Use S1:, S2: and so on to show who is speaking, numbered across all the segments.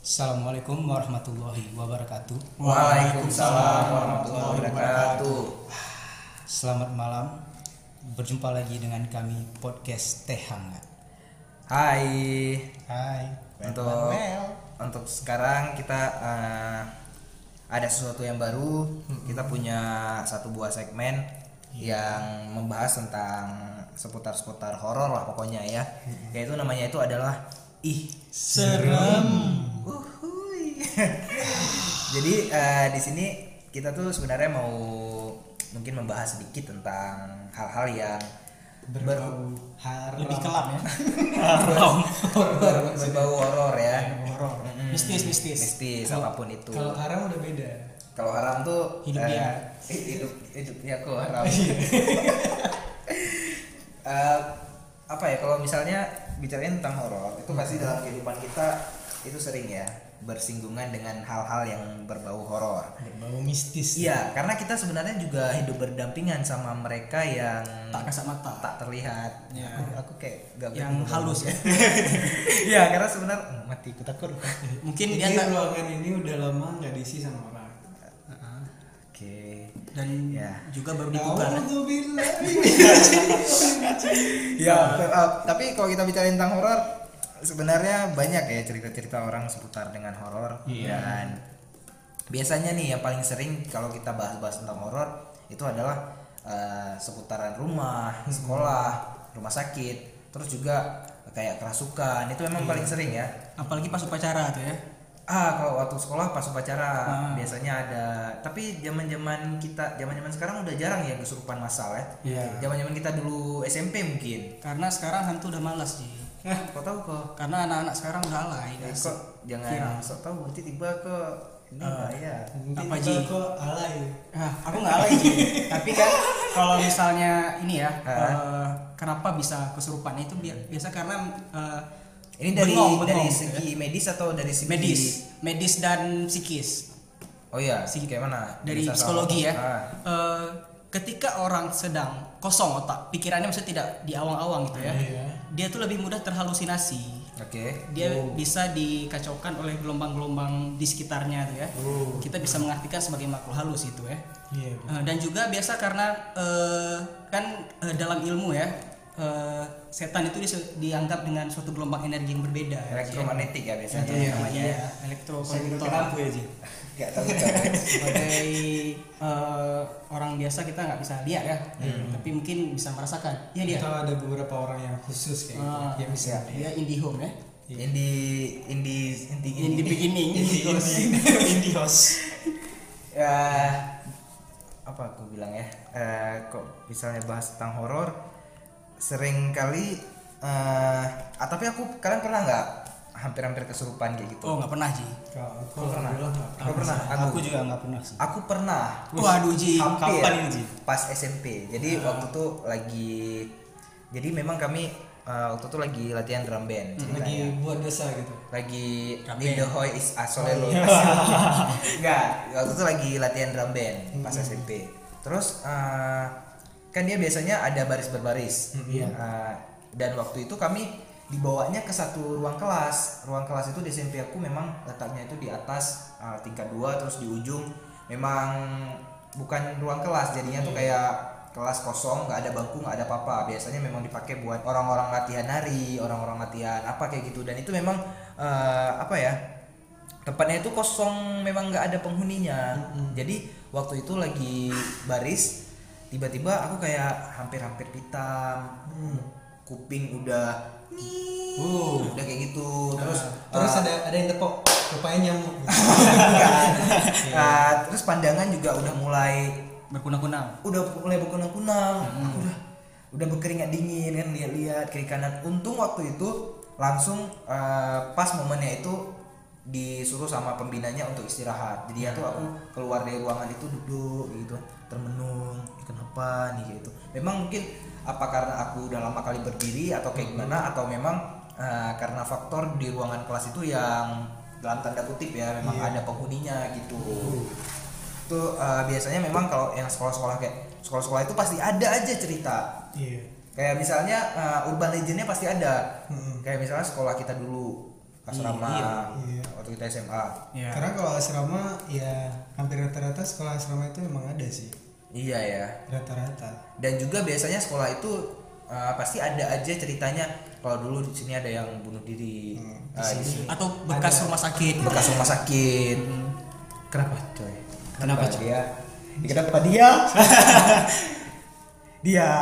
S1: Assalamualaikum warahmatullahi wabarakatuh.
S2: Waalaikumsalam warahmatullahi wabarakatuh.
S1: Selamat malam. Berjumpa lagi dengan kami podcast Teh Hangat.
S2: Hai.
S1: Hai.
S2: Untuk untuk sekarang kita eh, ada sesuatu yang baru. Kita punya satu buah segmen yang membahas tentang seputar-seputar horor lah pokoknya ya. Yaitu namanya itu adalah ih
S1: Serem.
S2: Uhuy. Jadi eh, di sini kita tuh sebenarnya mau mungkin membahas sedikit tentang hal-hal yang berbau
S1: Lebih kelam ya.
S2: berbau, berbau horor ya.
S3: horor mistis mistis
S2: Mistis apapun itu.
S3: kalau haram udah beda
S2: Kalau haram tuh
S3: Hidupnya.
S2: eh, hidup hidupnya kok haram.
S3: Iya.
S2: Eh, apa ya kalau misalnya bicarain tentang horor itu pasti dalam kehidupan kita itu sering ya bersinggungan dengan hal-hal yang berbau horor.
S1: Berbau mistis.
S2: Iya, karena kita sebenarnya juga hidup berdampingan sama mereka yang
S3: tak kasat mata
S2: tak terlihat.
S3: Ya.
S2: Aku, aku kayak gak
S3: Yang halus ya.
S2: Iya, karena sebenarnya Hmm, mati ku takut. Oke.
S1: Mungkin
S3: ini
S1: dia tak
S3: ruangan ini udah lama nggak diisi sama orang Iya.
S1: dan
S2: Ya.
S1: juga baru dibuka.
S2: Ya, fair up. tapi kalau kita bicara tentang horor, sebenarnya banyak ya cerita-cerita orang seputar dengan horor
S3: Iya.
S2: dan biasanya nih yang paling sering kalau kita bahas-bahas tentang horor itu adalah eh, seputaran rumah,
S3: Hmm.
S2: sekolah, rumah sakit, terus juga kayak kerasukan itu
S3: Iya.
S2: memang paling sering ya.
S3: apalagi pas upacara tuh ya
S2: Ah, kalau waktu sekolah pas
S3: Ah.
S2: upacara biasanya ada. Tapi zaman-zaman kita, zaman-zaman sekarang udah jarang ya kesurupan massal ya.
S3: Iya.
S2: Zaman-zaman kita dulu SMP mungkin.
S3: karena sekarang hantu udah malas sih
S2: Kau tahu kok?
S3: karena anak-anak sekarang udah alay
S2: Eh,
S3: guys.
S2: kok jangan sok tahu nanti tiba ke ini
S3: Ah.
S2: bahaya.
S3: Apa, Ji?
S1: kok alay? ya.
S3: Ah, aku nggak alay sih tapi kan kalau misalnya ini ya
S2: Ah.
S3: eh, kenapa bisa kesurupan itu bi- biasa karena eh,
S2: Ini dari
S3: bengong,
S2: dari
S3: bengong.
S2: segi medis atau dari segi
S3: medis medis dan psikis
S2: Oh iya, segi kayak mana?
S3: dari
S2: Bisa sama-
S3: psikologi ya.
S2: Ah,
S3: Eh, ketika orang sedang kosong otak, pikirannya maksudnya tidak di awang-awang gitu ya.
S1: Iya.
S3: Dia tuh lebih mudah terhalusinasi.
S2: Oke.
S3: Dia bisa dikacaukan oleh gelombang-gelombang di sekitarnya tuh ya.
S1: Oh.
S3: Kita bisa mengartikan sebagai makhluk halus itu ya.
S1: Iya.
S3: Eh, dan juga biasa karena eh, kan eh, dalam ilmu ya eh, setan itu disu- dianggap dengan suatu gelombang energi yang berbeda. ya.
S2: Elektromagnetik ya biasanya
S3: Iya,
S2: namanya.
S3: iya,
S1: Saya
S3: elektrokognitor
S1: kenapa ya, Ji?
S2: Gak tahu.
S3: Iya.
S2: tahu.
S3: sebagai eh, orang biasa kita nggak bisa lihat ya tapi mungkin bisa merasakan iya dia
S1: Atau ada beberapa orang yang khusus kayak
S3: Ah,
S4: Iya,
S1: gitu. Yang bisa
S3: dia indie home ya
S2: Indi indi indi
S3: indie beginning indie house
S1: indie host.
S2: ya apa aku bilang ya Eh, kok misalnya bahas tentang horor sering kali eh ah, tapi aku kalian pernah nggak hampir-hampir kesurupan kayak gitu
S3: oh nggak pernah sih
S1: Kalau aku
S2: Kau pernah?
S1: alhamdulillah nggak
S2: Kau pernah? Aku.
S1: Aku juga nggak pernah sih.
S2: aku pernah
S3: waduh ji
S2: hampir
S1: kapan ini, Ah. Ji?
S2: pas SMP jadi waktu itu lagi jadi memang kami eh, waktu itu lagi latihan drum band
S1: Hmm, Lagi
S3: Iya.
S2: ceritanya.
S1: buat dosa gitu.
S2: lagi
S3: Drum
S2: Linda
S3: band. Oh,
S2: Hoy
S3: iya.
S2: is Asolelo enggak waktu itu lagi latihan drum band pas
S3: Mm-hmm.
S2: SMP terus eh, kan dia biasanya ada baris berbaris
S3: Mm-hmm.
S1: Iya.
S2: Eh, dan waktu itu kami dibawanya ke satu ruang kelas ruang kelas itu di SMP aku memang letaknya itu di atas eh, tingkat dua terus di ujung memang bukan ruang kelas jadinya
S3: Iya.
S2: tuh kayak kelas kosong nggak ada bangku nggak ada apa-apa biasanya memang dipakai buat orang-orang latihan nari orang-orang latihan apa kayak gitu dan itu memang eh, apa ya tempatnya itu kosong memang nggak ada penghuninya jadi waktu itu lagi baris tiba-tiba aku kayak hampir-hampir hitam kuping udah nih
S1: Hmm. Wow. Ah.
S2: udah kayak gitu terus
S1: Terus
S2: eh,
S1: ada ada yang tepok, rupanya nyamuk.
S2: eh, terus pandangan juga udah mulai
S3: berkunang-kunang
S2: udah mulai berkunang-kunang aku udah udah berkeringat dingin kan lihat-lihat kiri kanan untung waktu itu langsung eh, pas momennya itu disuruh sama pembinanya untuk istirahat jadi itu aku keluar dari ruangan itu duduk gitu termenung "Ih, kenapa nih kayak gitu memang mungkin apa karena aku udah lama kali berdiri atau kayak gimana atau memang eh, karena faktor di ruangan kelas itu yang dalam tanda kutip ya memang ada penghuninya gitu itu eh, biasanya memang kalau yang sekolah-sekolah kayak sekolah-sekolah itu pasti ada aja cerita
S1: Iya.
S2: kayak misalnya eh, urban legendnya pasti ada
S1: Mm-mm.
S4: Hmm.
S2: kayak misalnya sekolah kita dulu asrama
S1: Iya,
S4: iya.
S2: waktu kita SMA
S3: Iya.
S4: Karena kalau asrama ya hampir rata-rata sekolah asrama itu emang ada sih
S2: iya ya
S4: rata-rata.
S2: dan juga biasanya sekolah itu uh, pasti ada aja ceritanya kalau dulu di sini ada yang bunuh diri
S4: Hmm,
S2: uh, di sini
S3: atau bekas rumah sakit
S2: bekas rumah sakit kenapa coy
S1: Kenapa, coy?
S2: dia Ya, kenapa dia dia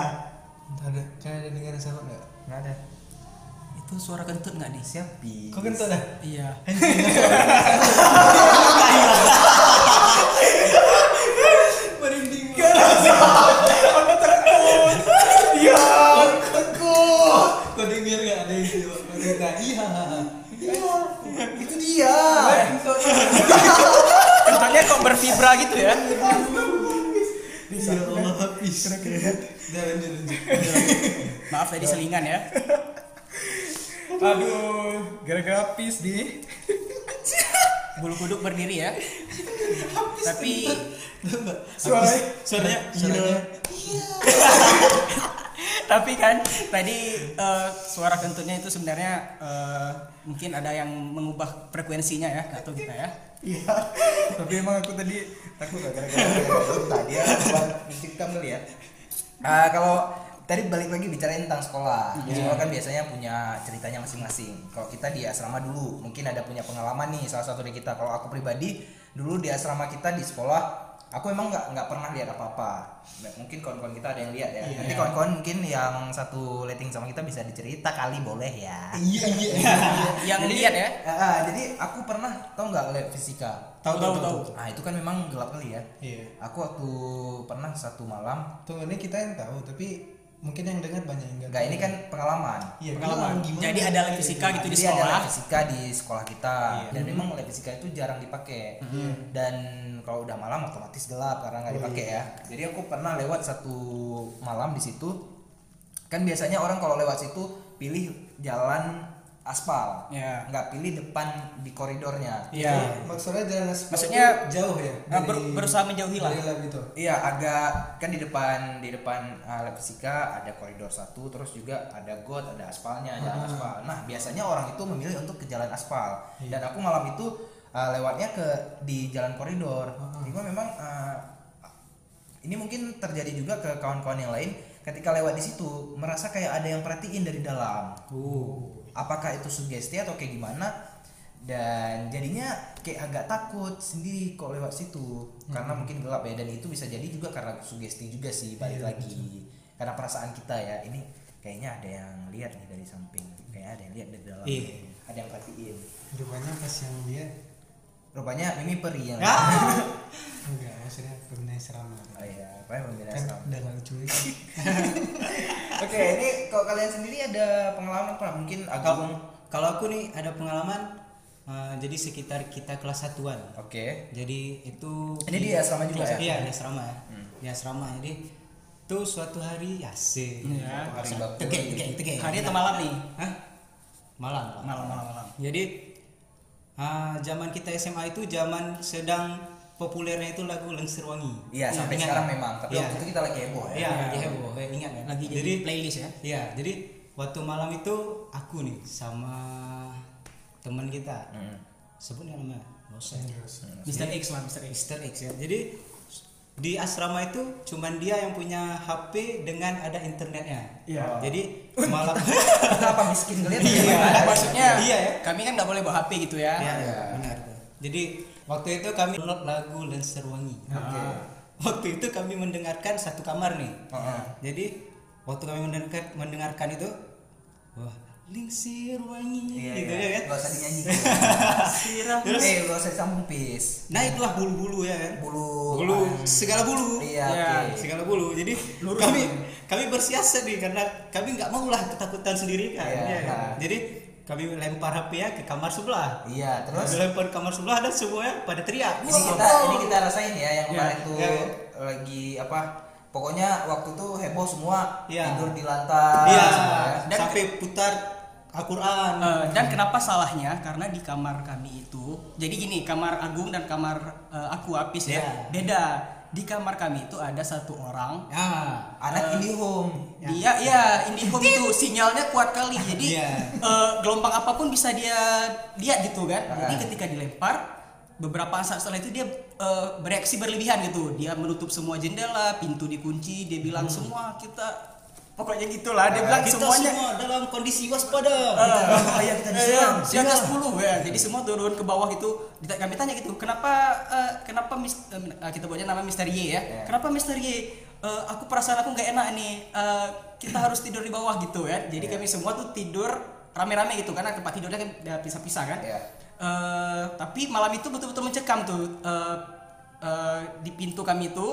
S4: Ada kan ada negara sama nggak?
S2: nggak ada
S3: itu suara kentut nggak nih
S2: siapi
S4: Kok kentut dah?
S3: iya
S2: iya
S4: Kok denger nggak ada yang jawab? Kok kita iya.
S3: Iya.
S2: itu dia
S4: Iya,
S3: kentutnya kok bervibra gitu ya Iya.
S4: Ya Allah habis. Jalan jalan.
S3: maaf tadi selingan ya
S2: aduh gara-gara pis di
S3: bulu kuduk berdiri ya tapi
S2: suaranya
S4: Suaranya iya. suaranya.
S3: tapi kan tadi eh, suara kentutnya itu sebenarnya eh, mungkin ada yang mengubah frekuensinya ya atau kita ya
S2: iya tapi emang aku tadi takut gak gara-gara tadi ya menciptakan kali ya Ah, kalau tadi balik lagi bicarain tentang sekolah Di sekolah kan biasanya punya ceritanya masing-masing kalau kita di asrama dulu mungkin ada punya pengalaman nih salah satu dari kita kalau aku pribadi dulu di asrama kita di sekolah aku emang nggak nggak pernah lihat apa-apa mungkin kawan-kawan kita ada yang lihat ya nanti kawan-kawan mungkin yang satu letting sama kita bisa dicerita kali boleh ya
S4: Iya iya. iya.
S3: yang lihat ya
S2: Ah, ah, jadi aku pernah tau nggak lihat fisika
S4: Tahu tahu tahu.
S2: ah itu kan memang gelap kali ya
S4: Iya.
S2: aku waktu pernah satu malam
S4: Tunggu ini kita yang tahu tapi mungkin yang dengar banyak yang nggak.
S2: enggak
S4: tahu.
S2: ini kan pengalaman
S4: Iya
S1: pengalaman.
S4: pengalaman gimana?
S3: ya. jadi ada lab fisika gitu di
S2: Jadi ada lab
S3: sekolah Iya. Hmm.
S2: fisika di sekolah kita dan memang lab fisika itu jarang dipakai
S3: Mm-hmm.
S2: dan kalau udah malam otomatis gelap karena
S3: Oh,
S2: nggak dipakai
S3: iya.
S2: ya jadi aku pernah lewat satu malam di situ kan biasanya orang kalau lewat situ pilih jalan aspal
S3: ya
S2: nggak pilih depan di koridornya
S3: ya
S4: Iya. Maksudnya jalan aspal
S3: Maksudnya,
S4: itu jauh ya.
S3: nah, ber- berusaha menjauhi lah.
S4: dari lab gitu. itu.
S2: Iya agak kan di depan di depan uh, lab fisika ada koridor satu terus juga ada got ada aspalnya jalan aspal. Nah biasanya orang itu memilih untuk ke jalan aspal dan aku malam itu uh, lewatnya ke di jalan koridor. Jadi gua memang uh, ini mungkin terjadi juga ke kawan-kawan yang lain ketika lewat di situ merasa kayak ada yang perhatiin dari dalam.
S3: Oh.
S2: Apakah itu sugesti atau kayak gimana? Dan jadinya kayak agak takut sendiri kok lewat situ karena
S1: Hmm.
S2: mungkin gelap ya dan itu bisa jadi juga karena sugesti juga
S1: Iya,
S2: sih balik lagi karena perasaan kita ya ini kayaknya ada yang lihat nih dari samping kayaknya ada yang lihat dari dalam
S1: Iya.
S2: ada yang perhatiin
S4: Rupanya pas yang lihat
S2: rupanya ini peri yang
S1: Ah!
S4: enggak maksudnya pembina asrama.
S2: oh iya apa yang membela
S4: Kan
S2: asrama.
S4: udah nggak lucu lagi.
S2: Oke, ini kalau kalian sendiri ada pengalaman apa? Mungkin agak
S1: Kalau kalau aku nih ada pengalaman eh, jadi sekitar kita kelas satuan.
S2: Oke.
S1: Jadi itu
S2: Ini di asrama juga ya?
S1: Iya, di asrama ya. Di asrama. Jadi itu suatu hari ya sih.
S3: Iya.
S2: Hari Bakti.
S1: Tegak, tegak, tegak.
S3: hari atau malam nih
S1: Iya. Hah? Malam, Pak.
S3: malam malam malam
S1: Jadi ah, zaman kita SMA itu zaman sedang populernya itu lagu Lengser Wangi.
S2: Iya, sampai
S1: Ingat
S2: sekarang
S1: nggak?
S2: memang, tapi
S1: Iya.
S2: waktu itu kita lagi heboh ya.
S1: Iya, lagi heboh. Eh, Ingat ya?
S3: lagi jadi playlist ya
S1: Iya, jadi waktu malam itu aku nih sama teman kita.
S2: Hmm.
S1: Sebut nggak namanya? Nggak usah.
S4: Iya.
S3: Mr. X lah Mr. X
S1: Mr. X ya. Jadi di asrama itu cuman dia yang punya HP dengan ada internetnya.
S3: Iya.
S1: Jadi malam
S2: Kenapa miskin kan? kalian?
S3: Iya, maksudnya
S1: Iya ya.
S3: kami kan nggak boleh bawa HP gitu ya.
S1: Iya, iya, benar. Jadi waktu itu kami download lagu Lancer Wangi.
S2: Oke.
S1: Waktu itu kami mendengarkan satu kamar nih.
S2: Heeh.
S1: Jadi waktu kami mendengarkan, mendengarkan itu wah Lingsir wangi
S2: Iya,
S1: gitu ya
S2: iya.
S1: kan.
S2: Gak usah dinyanyi.
S3: Sirah.
S1: Terus-
S2: Eh, gak usah sambung pis.
S1: Nah itulah bulu-bulu ya kan.
S2: Bulu.
S1: Bulu
S2: Ah.
S1: segala bulu.
S2: Iya,
S3: Iya,
S2: oke.
S1: segala bulu. Jadi
S3: Lurus.
S1: kami kami bersiasat nih karena kami nggak mau lah ketakutan sendiri kan.
S2: Iya,
S1: Iya,
S2: iya.
S1: kan? Jadi kami lempar HP ya ke kamar sebelah.
S2: Iya,
S1: Kami
S2: terus
S1: lempar ke kamar sebelah dan semuanya pada teriak.
S2: ini kita ini kita rasain ya yang
S3: Iya,
S2: kemarin tuh
S1: iya, iya.
S2: lagi apa? Pokoknya waktu itu heboh semua,
S1: Iya.
S2: tidur di lantai.
S1: Iya,
S2: semua ya.
S1: dan sampai putar Al-Qur'an.
S3: Eh, dan kenapa salahnya? Karena di kamar kami itu, jadi gini, kamar Agung dan kamar eh, aku Apis ya,
S1: Iya.
S3: beda. di kamar kami itu ada satu orang
S1: Ah,
S2: anak ini home
S3: dia ya IndiHome itu sinyalnya kuat kali jadi
S1: Iya.
S3: eh, gelombang apapun bisa dia lihat gitu kan jadi ketika dilempar beberapa saat setelah itu dia eh, bereaksi berlebihan gitu dia menutup semua jendela pintu dikunci dia bilang semua kita Ah, pokoknya gitulah dia bilang
S1: kita
S3: semuanya
S1: semua dalam kondisi waspada.
S3: Eh,
S2: Bahaya kita Iya.
S3: eh,
S2: diserang.
S3: di atas 10 ya. Jadi semua turun ke bawah itu. Kita- Kami tanya gitu, kenapa eh, kenapa mis- eh, min- eh, kita buatnya nama Mister Y
S2: Iya.
S3: ya. Kenapa Mister Y? Eh, aku perasaan aku nggak enak nih. Eh, kita harus tidur di bawah gitu ya. Jadi
S2: Iya.
S3: kami semua tuh tidur rame-rame gitu karena tempat tidurnya kan udah pisah-pisah kan.
S2: Iya.
S3: Eh, tapi malam itu betul-betul mencekam tuh Eh, eh, di pintu kami itu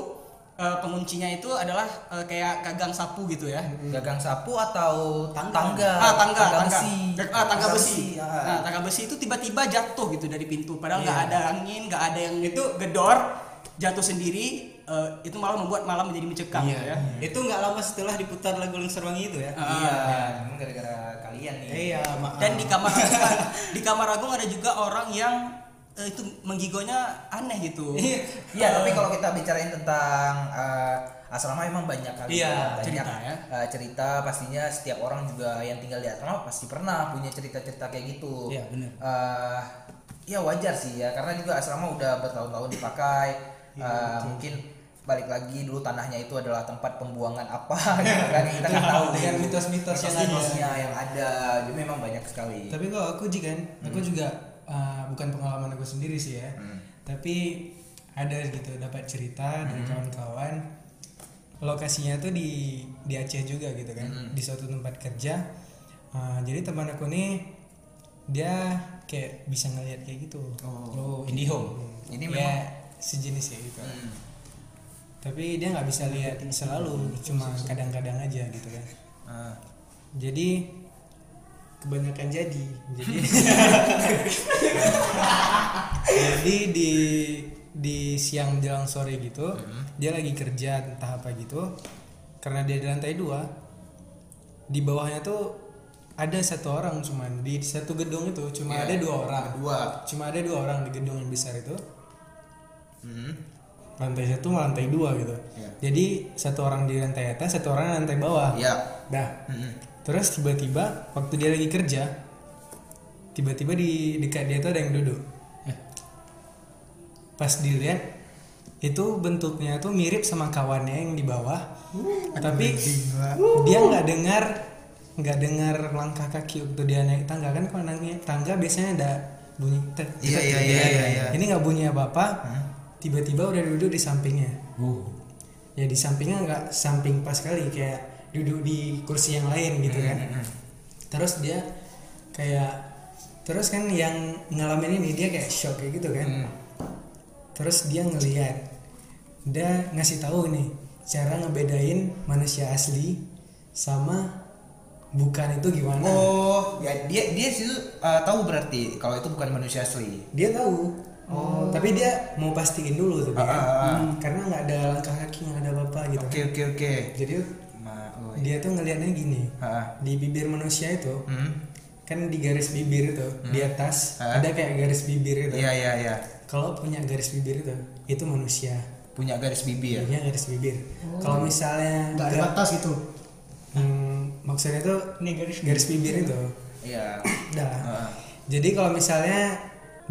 S3: eh, penguncinya itu adalah eh, kayak gagang sapu gitu ya.
S2: gagang sapu atau tangga
S3: Ah, tangga, tangga,
S2: besi
S3: Ah, tangga besi.
S2: ah.
S3: Nah, tangga besi itu tiba-tiba jatuh gitu dari pintu. Padahal nggak ada angin, nggak ada yang itu gedor, jatuh sendiri. eh, itu malah membuat malam menjadi mencekam
S1: Iya,
S3: ya.
S1: Itu nggak lama setelah diputar lagu Lengser Wangi itu ya.
S2: iya emang gara-gara kalian nih
S1: Iya, maaf.
S3: Dan di kamar agung, di kamar agung ada juga orang yang eh, itu menggigonya aneh gitu.
S2: Iya, tapi kalau kita bicarain tentang eh, asrama emang banyak kali
S1: Iya,
S2: banyak
S3: cerita ya.
S2: eh, cerita pastinya setiap orang juga yang tinggal di asrama pasti pernah punya cerita-cerita kayak gitu.
S1: Iya, benar.
S2: Eh, ya wajar sih ya, karena juga asrama udah bertahun-tahun dipakai. Eh, mungkin balik lagi dulu tanahnya itu adalah tempat pembuangan apa gitu kan kita nggak tahu deh.
S4: Dengan mitos-mitos yang ada.
S2: Mitos-mitosnya yang ada jadi memang banyak sekali
S4: Tapi kalau aku juga, aku juga
S1: eh,
S4: uh, bukan pengalaman aku sendiri sih ya. Tapi ada gitu dapat cerita dari kawan-kawan. Lokasinya tuh di di Aceh juga gitu kan, di suatu tempat kerja. Uh, jadi teman aku nih dia kayak bisa ngelihat kayak gitu.
S1: Oh, IndiHome.
S2: Ini
S4: Ini
S2: Hmm.
S4: ya, sejenis ya gitu. Tapi dia nggak bisa lihat selalu, cuma kadang-kadang aja gitu kan.
S2: Ah.
S4: Jadi kebanyakan jadi. Jadi Jadi di di siang menjelang sore gitu,
S2: Hmm.
S4: dia lagi kerja entah apa gitu. Karena dia di lantai dua, di bawahnya tuh ada satu orang cuman di satu gedung itu cuma
S2: Iya,
S4: ada dua orang.
S2: dua.
S4: Cuma ada dua orang di gedung yang besar itu.
S2: Hmm.
S4: Lantai satu sama lantai dua gitu.
S2: Iya.
S4: Jadi satu orang di lantai atas, satu orang di lantai bawah.
S2: Iya.
S4: Dah,
S2: Hmm.
S4: Terus tiba-tiba waktu dia lagi kerja, tiba-tiba di dekat dia tuh ada yang duduk.
S2: Eh.
S4: Pas dilihat itu bentuknya tuh mirip sama kawannya yang di bawah,
S2: Hmm.
S4: tapi dia nggak dengar nggak dengar langkah kaki waktu dia naik tangga kan kalau naik tangga biasanya ada bunyi tet,
S2: Iya,
S4: tet,
S2: iya,
S4: tet,
S2: iya,
S4: tet.
S2: iya, iya.
S4: ini nggak bunyi apa apa tiba-tiba udah duduk di sampingnya ya di sampingnya nggak samping pas kali kayak duduk di kursi yang lain gitu
S2: Hmm,
S4: kan terus dia kayak terus kan yang ngalamin ini dia kayak shock kayak gitu
S2: Hmm.
S4: kan terus dia ngelihat dia ngasih tahu nih cara ngebedain manusia asli sama bukan itu gimana
S2: Oh, ya dia dia situ uh, tahu berarti kalau itu bukan manusia asli.
S4: dia tahu oh. tapi dia mau pastiin dulu tuh
S2: Ah,
S4: kan?
S2: ah, ah.
S4: Hmm, karena nggak ada langkah kaki nggak ada apa-apa gitu
S2: Oke oke oke.
S4: jadi
S2: Ma, oh,
S4: dia tuh ngelihatnya gini
S2: ha,
S4: di bibir manusia itu
S2: hmm,
S4: kan di garis bibir itu di atas
S2: Hah?
S4: ada kayak garis bibir itu
S2: Iya iya iya.
S4: kalau punya garis bibir itu itu manusia
S2: Punya garis bibir.
S4: punya garis bibir kalau
S5: Oh.
S4: misalnya
S5: nggak ada
S4: nggak-
S5: batas gitu
S4: Hmm, maksudnya itu nih garis garis bibir itu
S2: Iya.
S4: dah
S2: Heeh.
S4: jadi kalau misalnya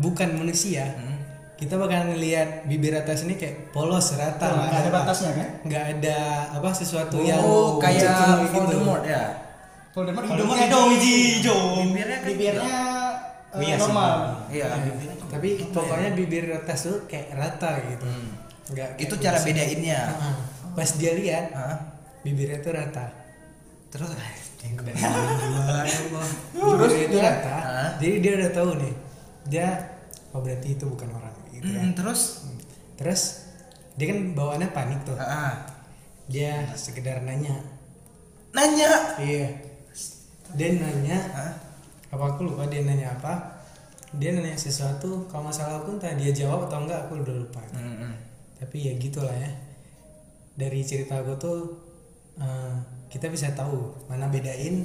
S4: bukan manusia
S2: Hmm.
S4: kita bakal ngelihat bibir atas ini kayak polos rata lah.
S5: nggak ada batasnya kan
S4: nggak ada apa sesuatu yang
S2: Oh,
S4: mencekam
S2: kayak
S4: gitu.
S2: Voldemort ya.
S5: Voldemort
S1: Hidung hidung
S5: hidungnya
S1: hijau.
S2: Bibirnya kan
S5: bibirnya eh,
S1: Iya sih.
S5: normal
S2: Iya.
S4: tapi pokoknya bibir atas tuh kayak rata gitu nggak kayak
S2: Hmm. Itu cara
S4: manusia.
S2: bedainnya.
S4: Heeh. pas dia lihat
S2: Hah?
S4: bibirnya tuh rata
S2: Terus
S4: terus dia rata
S2: Iya. Hah?
S4: jadi dia udah tahu nih dia oh berarti itu bukan orang gitu kan
S2: Hmm, terus
S4: terus dia kan bawaannya panik tuh
S2: Ah, ah.
S4: dia sekedar nanya
S2: nanya.
S4: iya dia nanya
S2: Hah?
S4: apa aku lupa dia nanya apa dia nanya sesuatu kalau masalah aku entah dia jawab atau enggak aku udah lupa
S2: Hmm, hmm.
S4: tapi ya gitulah ya dari cerita aku tuh eh, kita bisa tahu mana bedain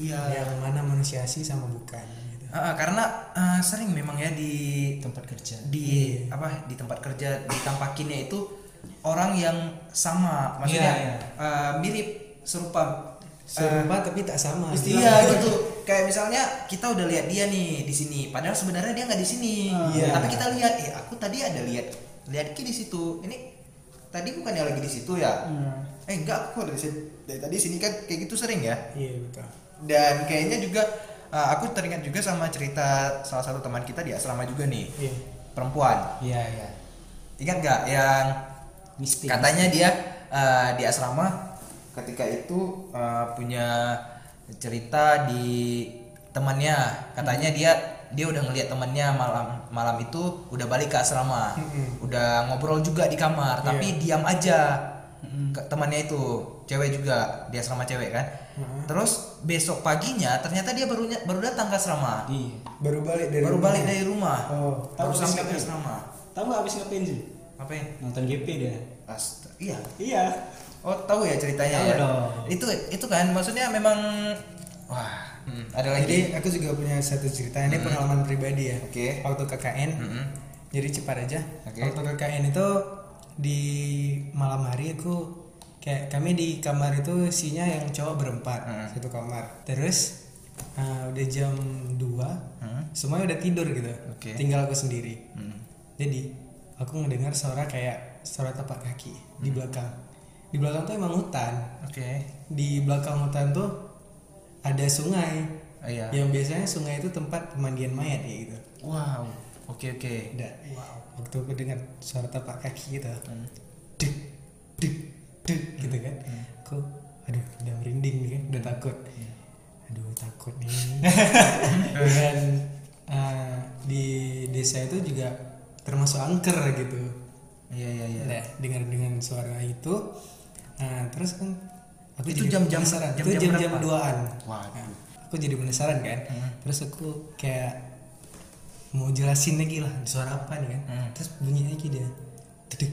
S1: Iya.
S4: yang mana manusia asli sama bukan gitu.
S2: Ah, ah, karena ah, sering memang ya di
S1: Tempat kerja. Iya.
S2: di apa di tempat kerja ditampakinnya itu orang yang sama maksudnya
S1: Iya, iya.
S2: eh, mirip serupa eh,
S4: serupa
S1: Eh,
S4: tapi tak sama gitu.
S2: Iya gitu. Kayak misalnya kita udah lihat dia nih di sini, padahal sebenarnya dia nggak di sini.
S1: Ah.
S4: Iya.
S2: Tapi kita lihat, eh aku tadi ada lihat, lihat ki di situ. Ini tadi bukannya lagi di situ ya?
S1: Hmm.
S2: Eh enggak, aku kok dari, si- dari tadi sini kan kayak gitu sering ya.
S4: iya betul
S2: Dan kayaknya juga uh, aku teringat juga sama cerita salah satu teman kita di asrama juga nih,
S4: iya
S2: perempuan.
S1: Iya, iya.
S2: Ingat nggak yang
S4: Iya.
S1: Mistik.
S4: Kan.
S2: katanya dia eh, di asrama ketika itu eh, punya cerita di temannya katanya dia dia udah ngelihat temannya malam malam itu udah balik ke asrama
S4: Mm-mm.
S2: udah ngobrol juga di kamar tapi diam aja Ke- temannya itu cewek juga di asrama cewek kan terus besok paginya ternyata dia baru ny- baru datang ke asrama
S1: Iya.
S4: baru balik dari
S2: baru balik
S4: rumahnya.
S2: dari rumah
S4: oh
S2: baru
S1: Tahu
S2: sampai ke
S1: habis
S2: asrama
S1: Tahu nggak habis ngapain sih?
S2: apa ya
S1: Nonton GP dia.
S2: Astaga, iya
S1: Iya.
S2: Oh tahu ya ceritanya
S1: Tahu
S2: ya.
S1: dong.
S2: Itu itu kan maksudnya memang wah hmm, ada
S4: jadi
S2: lagi.
S4: aku juga punya satu cerita
S1: Hmm.
S4: ini pengalaman pribadi ya
S2: Oke.
S4: waktu KKN
S2: Mm-mm.
S4: jadi cepat aja
S2: Oke.
S4: waktu KKN itu di malam hari aku kayak kami di kamar itu isinya yang cowok berempat
S2: Hmm.
S4: satu kamar terus ah, udah jam 2
S2: Hmm.
S4: semuanya udah tidur gitu
S2: Oke.
S4: tinggal aku sendiri
S2: Hmm.
S4: jadi aku mendengar suara kayak suara tapak kaki di belakang di belakang tuh emang hutan
S2: Hmm. Oke.
S4: di belakang hutan tuh ada sungai
S2: Oh, iya.
S4: yang biasanya sungai itu tempat pemandian mayat ya gitu
S2: Wow. Oke oke.
S4: tidak waktu aku dengar suara tapak kaki gitu dek dek dek gitu kan aku aduh udah merinding nih kan udah takut aduh takut nih dan eh, di desa itu juga termasuk angker gitu
S2: Iya iya iya.
S4: Nah, dengar dengan suara itu nah, terus kan aku jadi
S2: Itu jam-jam-
S4: penasaran. itu
S2: jam-jam
S4: jam-jam
S2: berapa?
S4: duaan
S2: Waduh. Hmm.
S4: Nah, aku jadi penasaran kan terus aku kayak mau jelasin lagi lah suara apa nih kan
S2: Hmm.
S4: terus bunyinya lagi dia dedek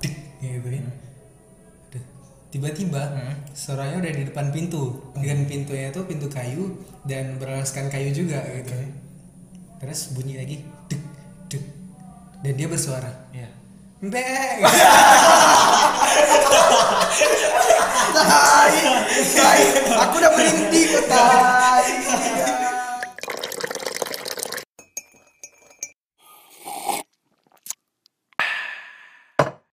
S4: dek gitu kan
S2: Hmm.
S4: Aduh. tiba-tiba suaranya udah di depan pintu
S2: Hmm.
S4: dengan pintunya itu pintu kayu dan beralaskan kayu juga gitu
S2: Hmm.
S4: terus bunyi lagi dek dek dan dia bersuara
S2: Iya.
S4: Mbak.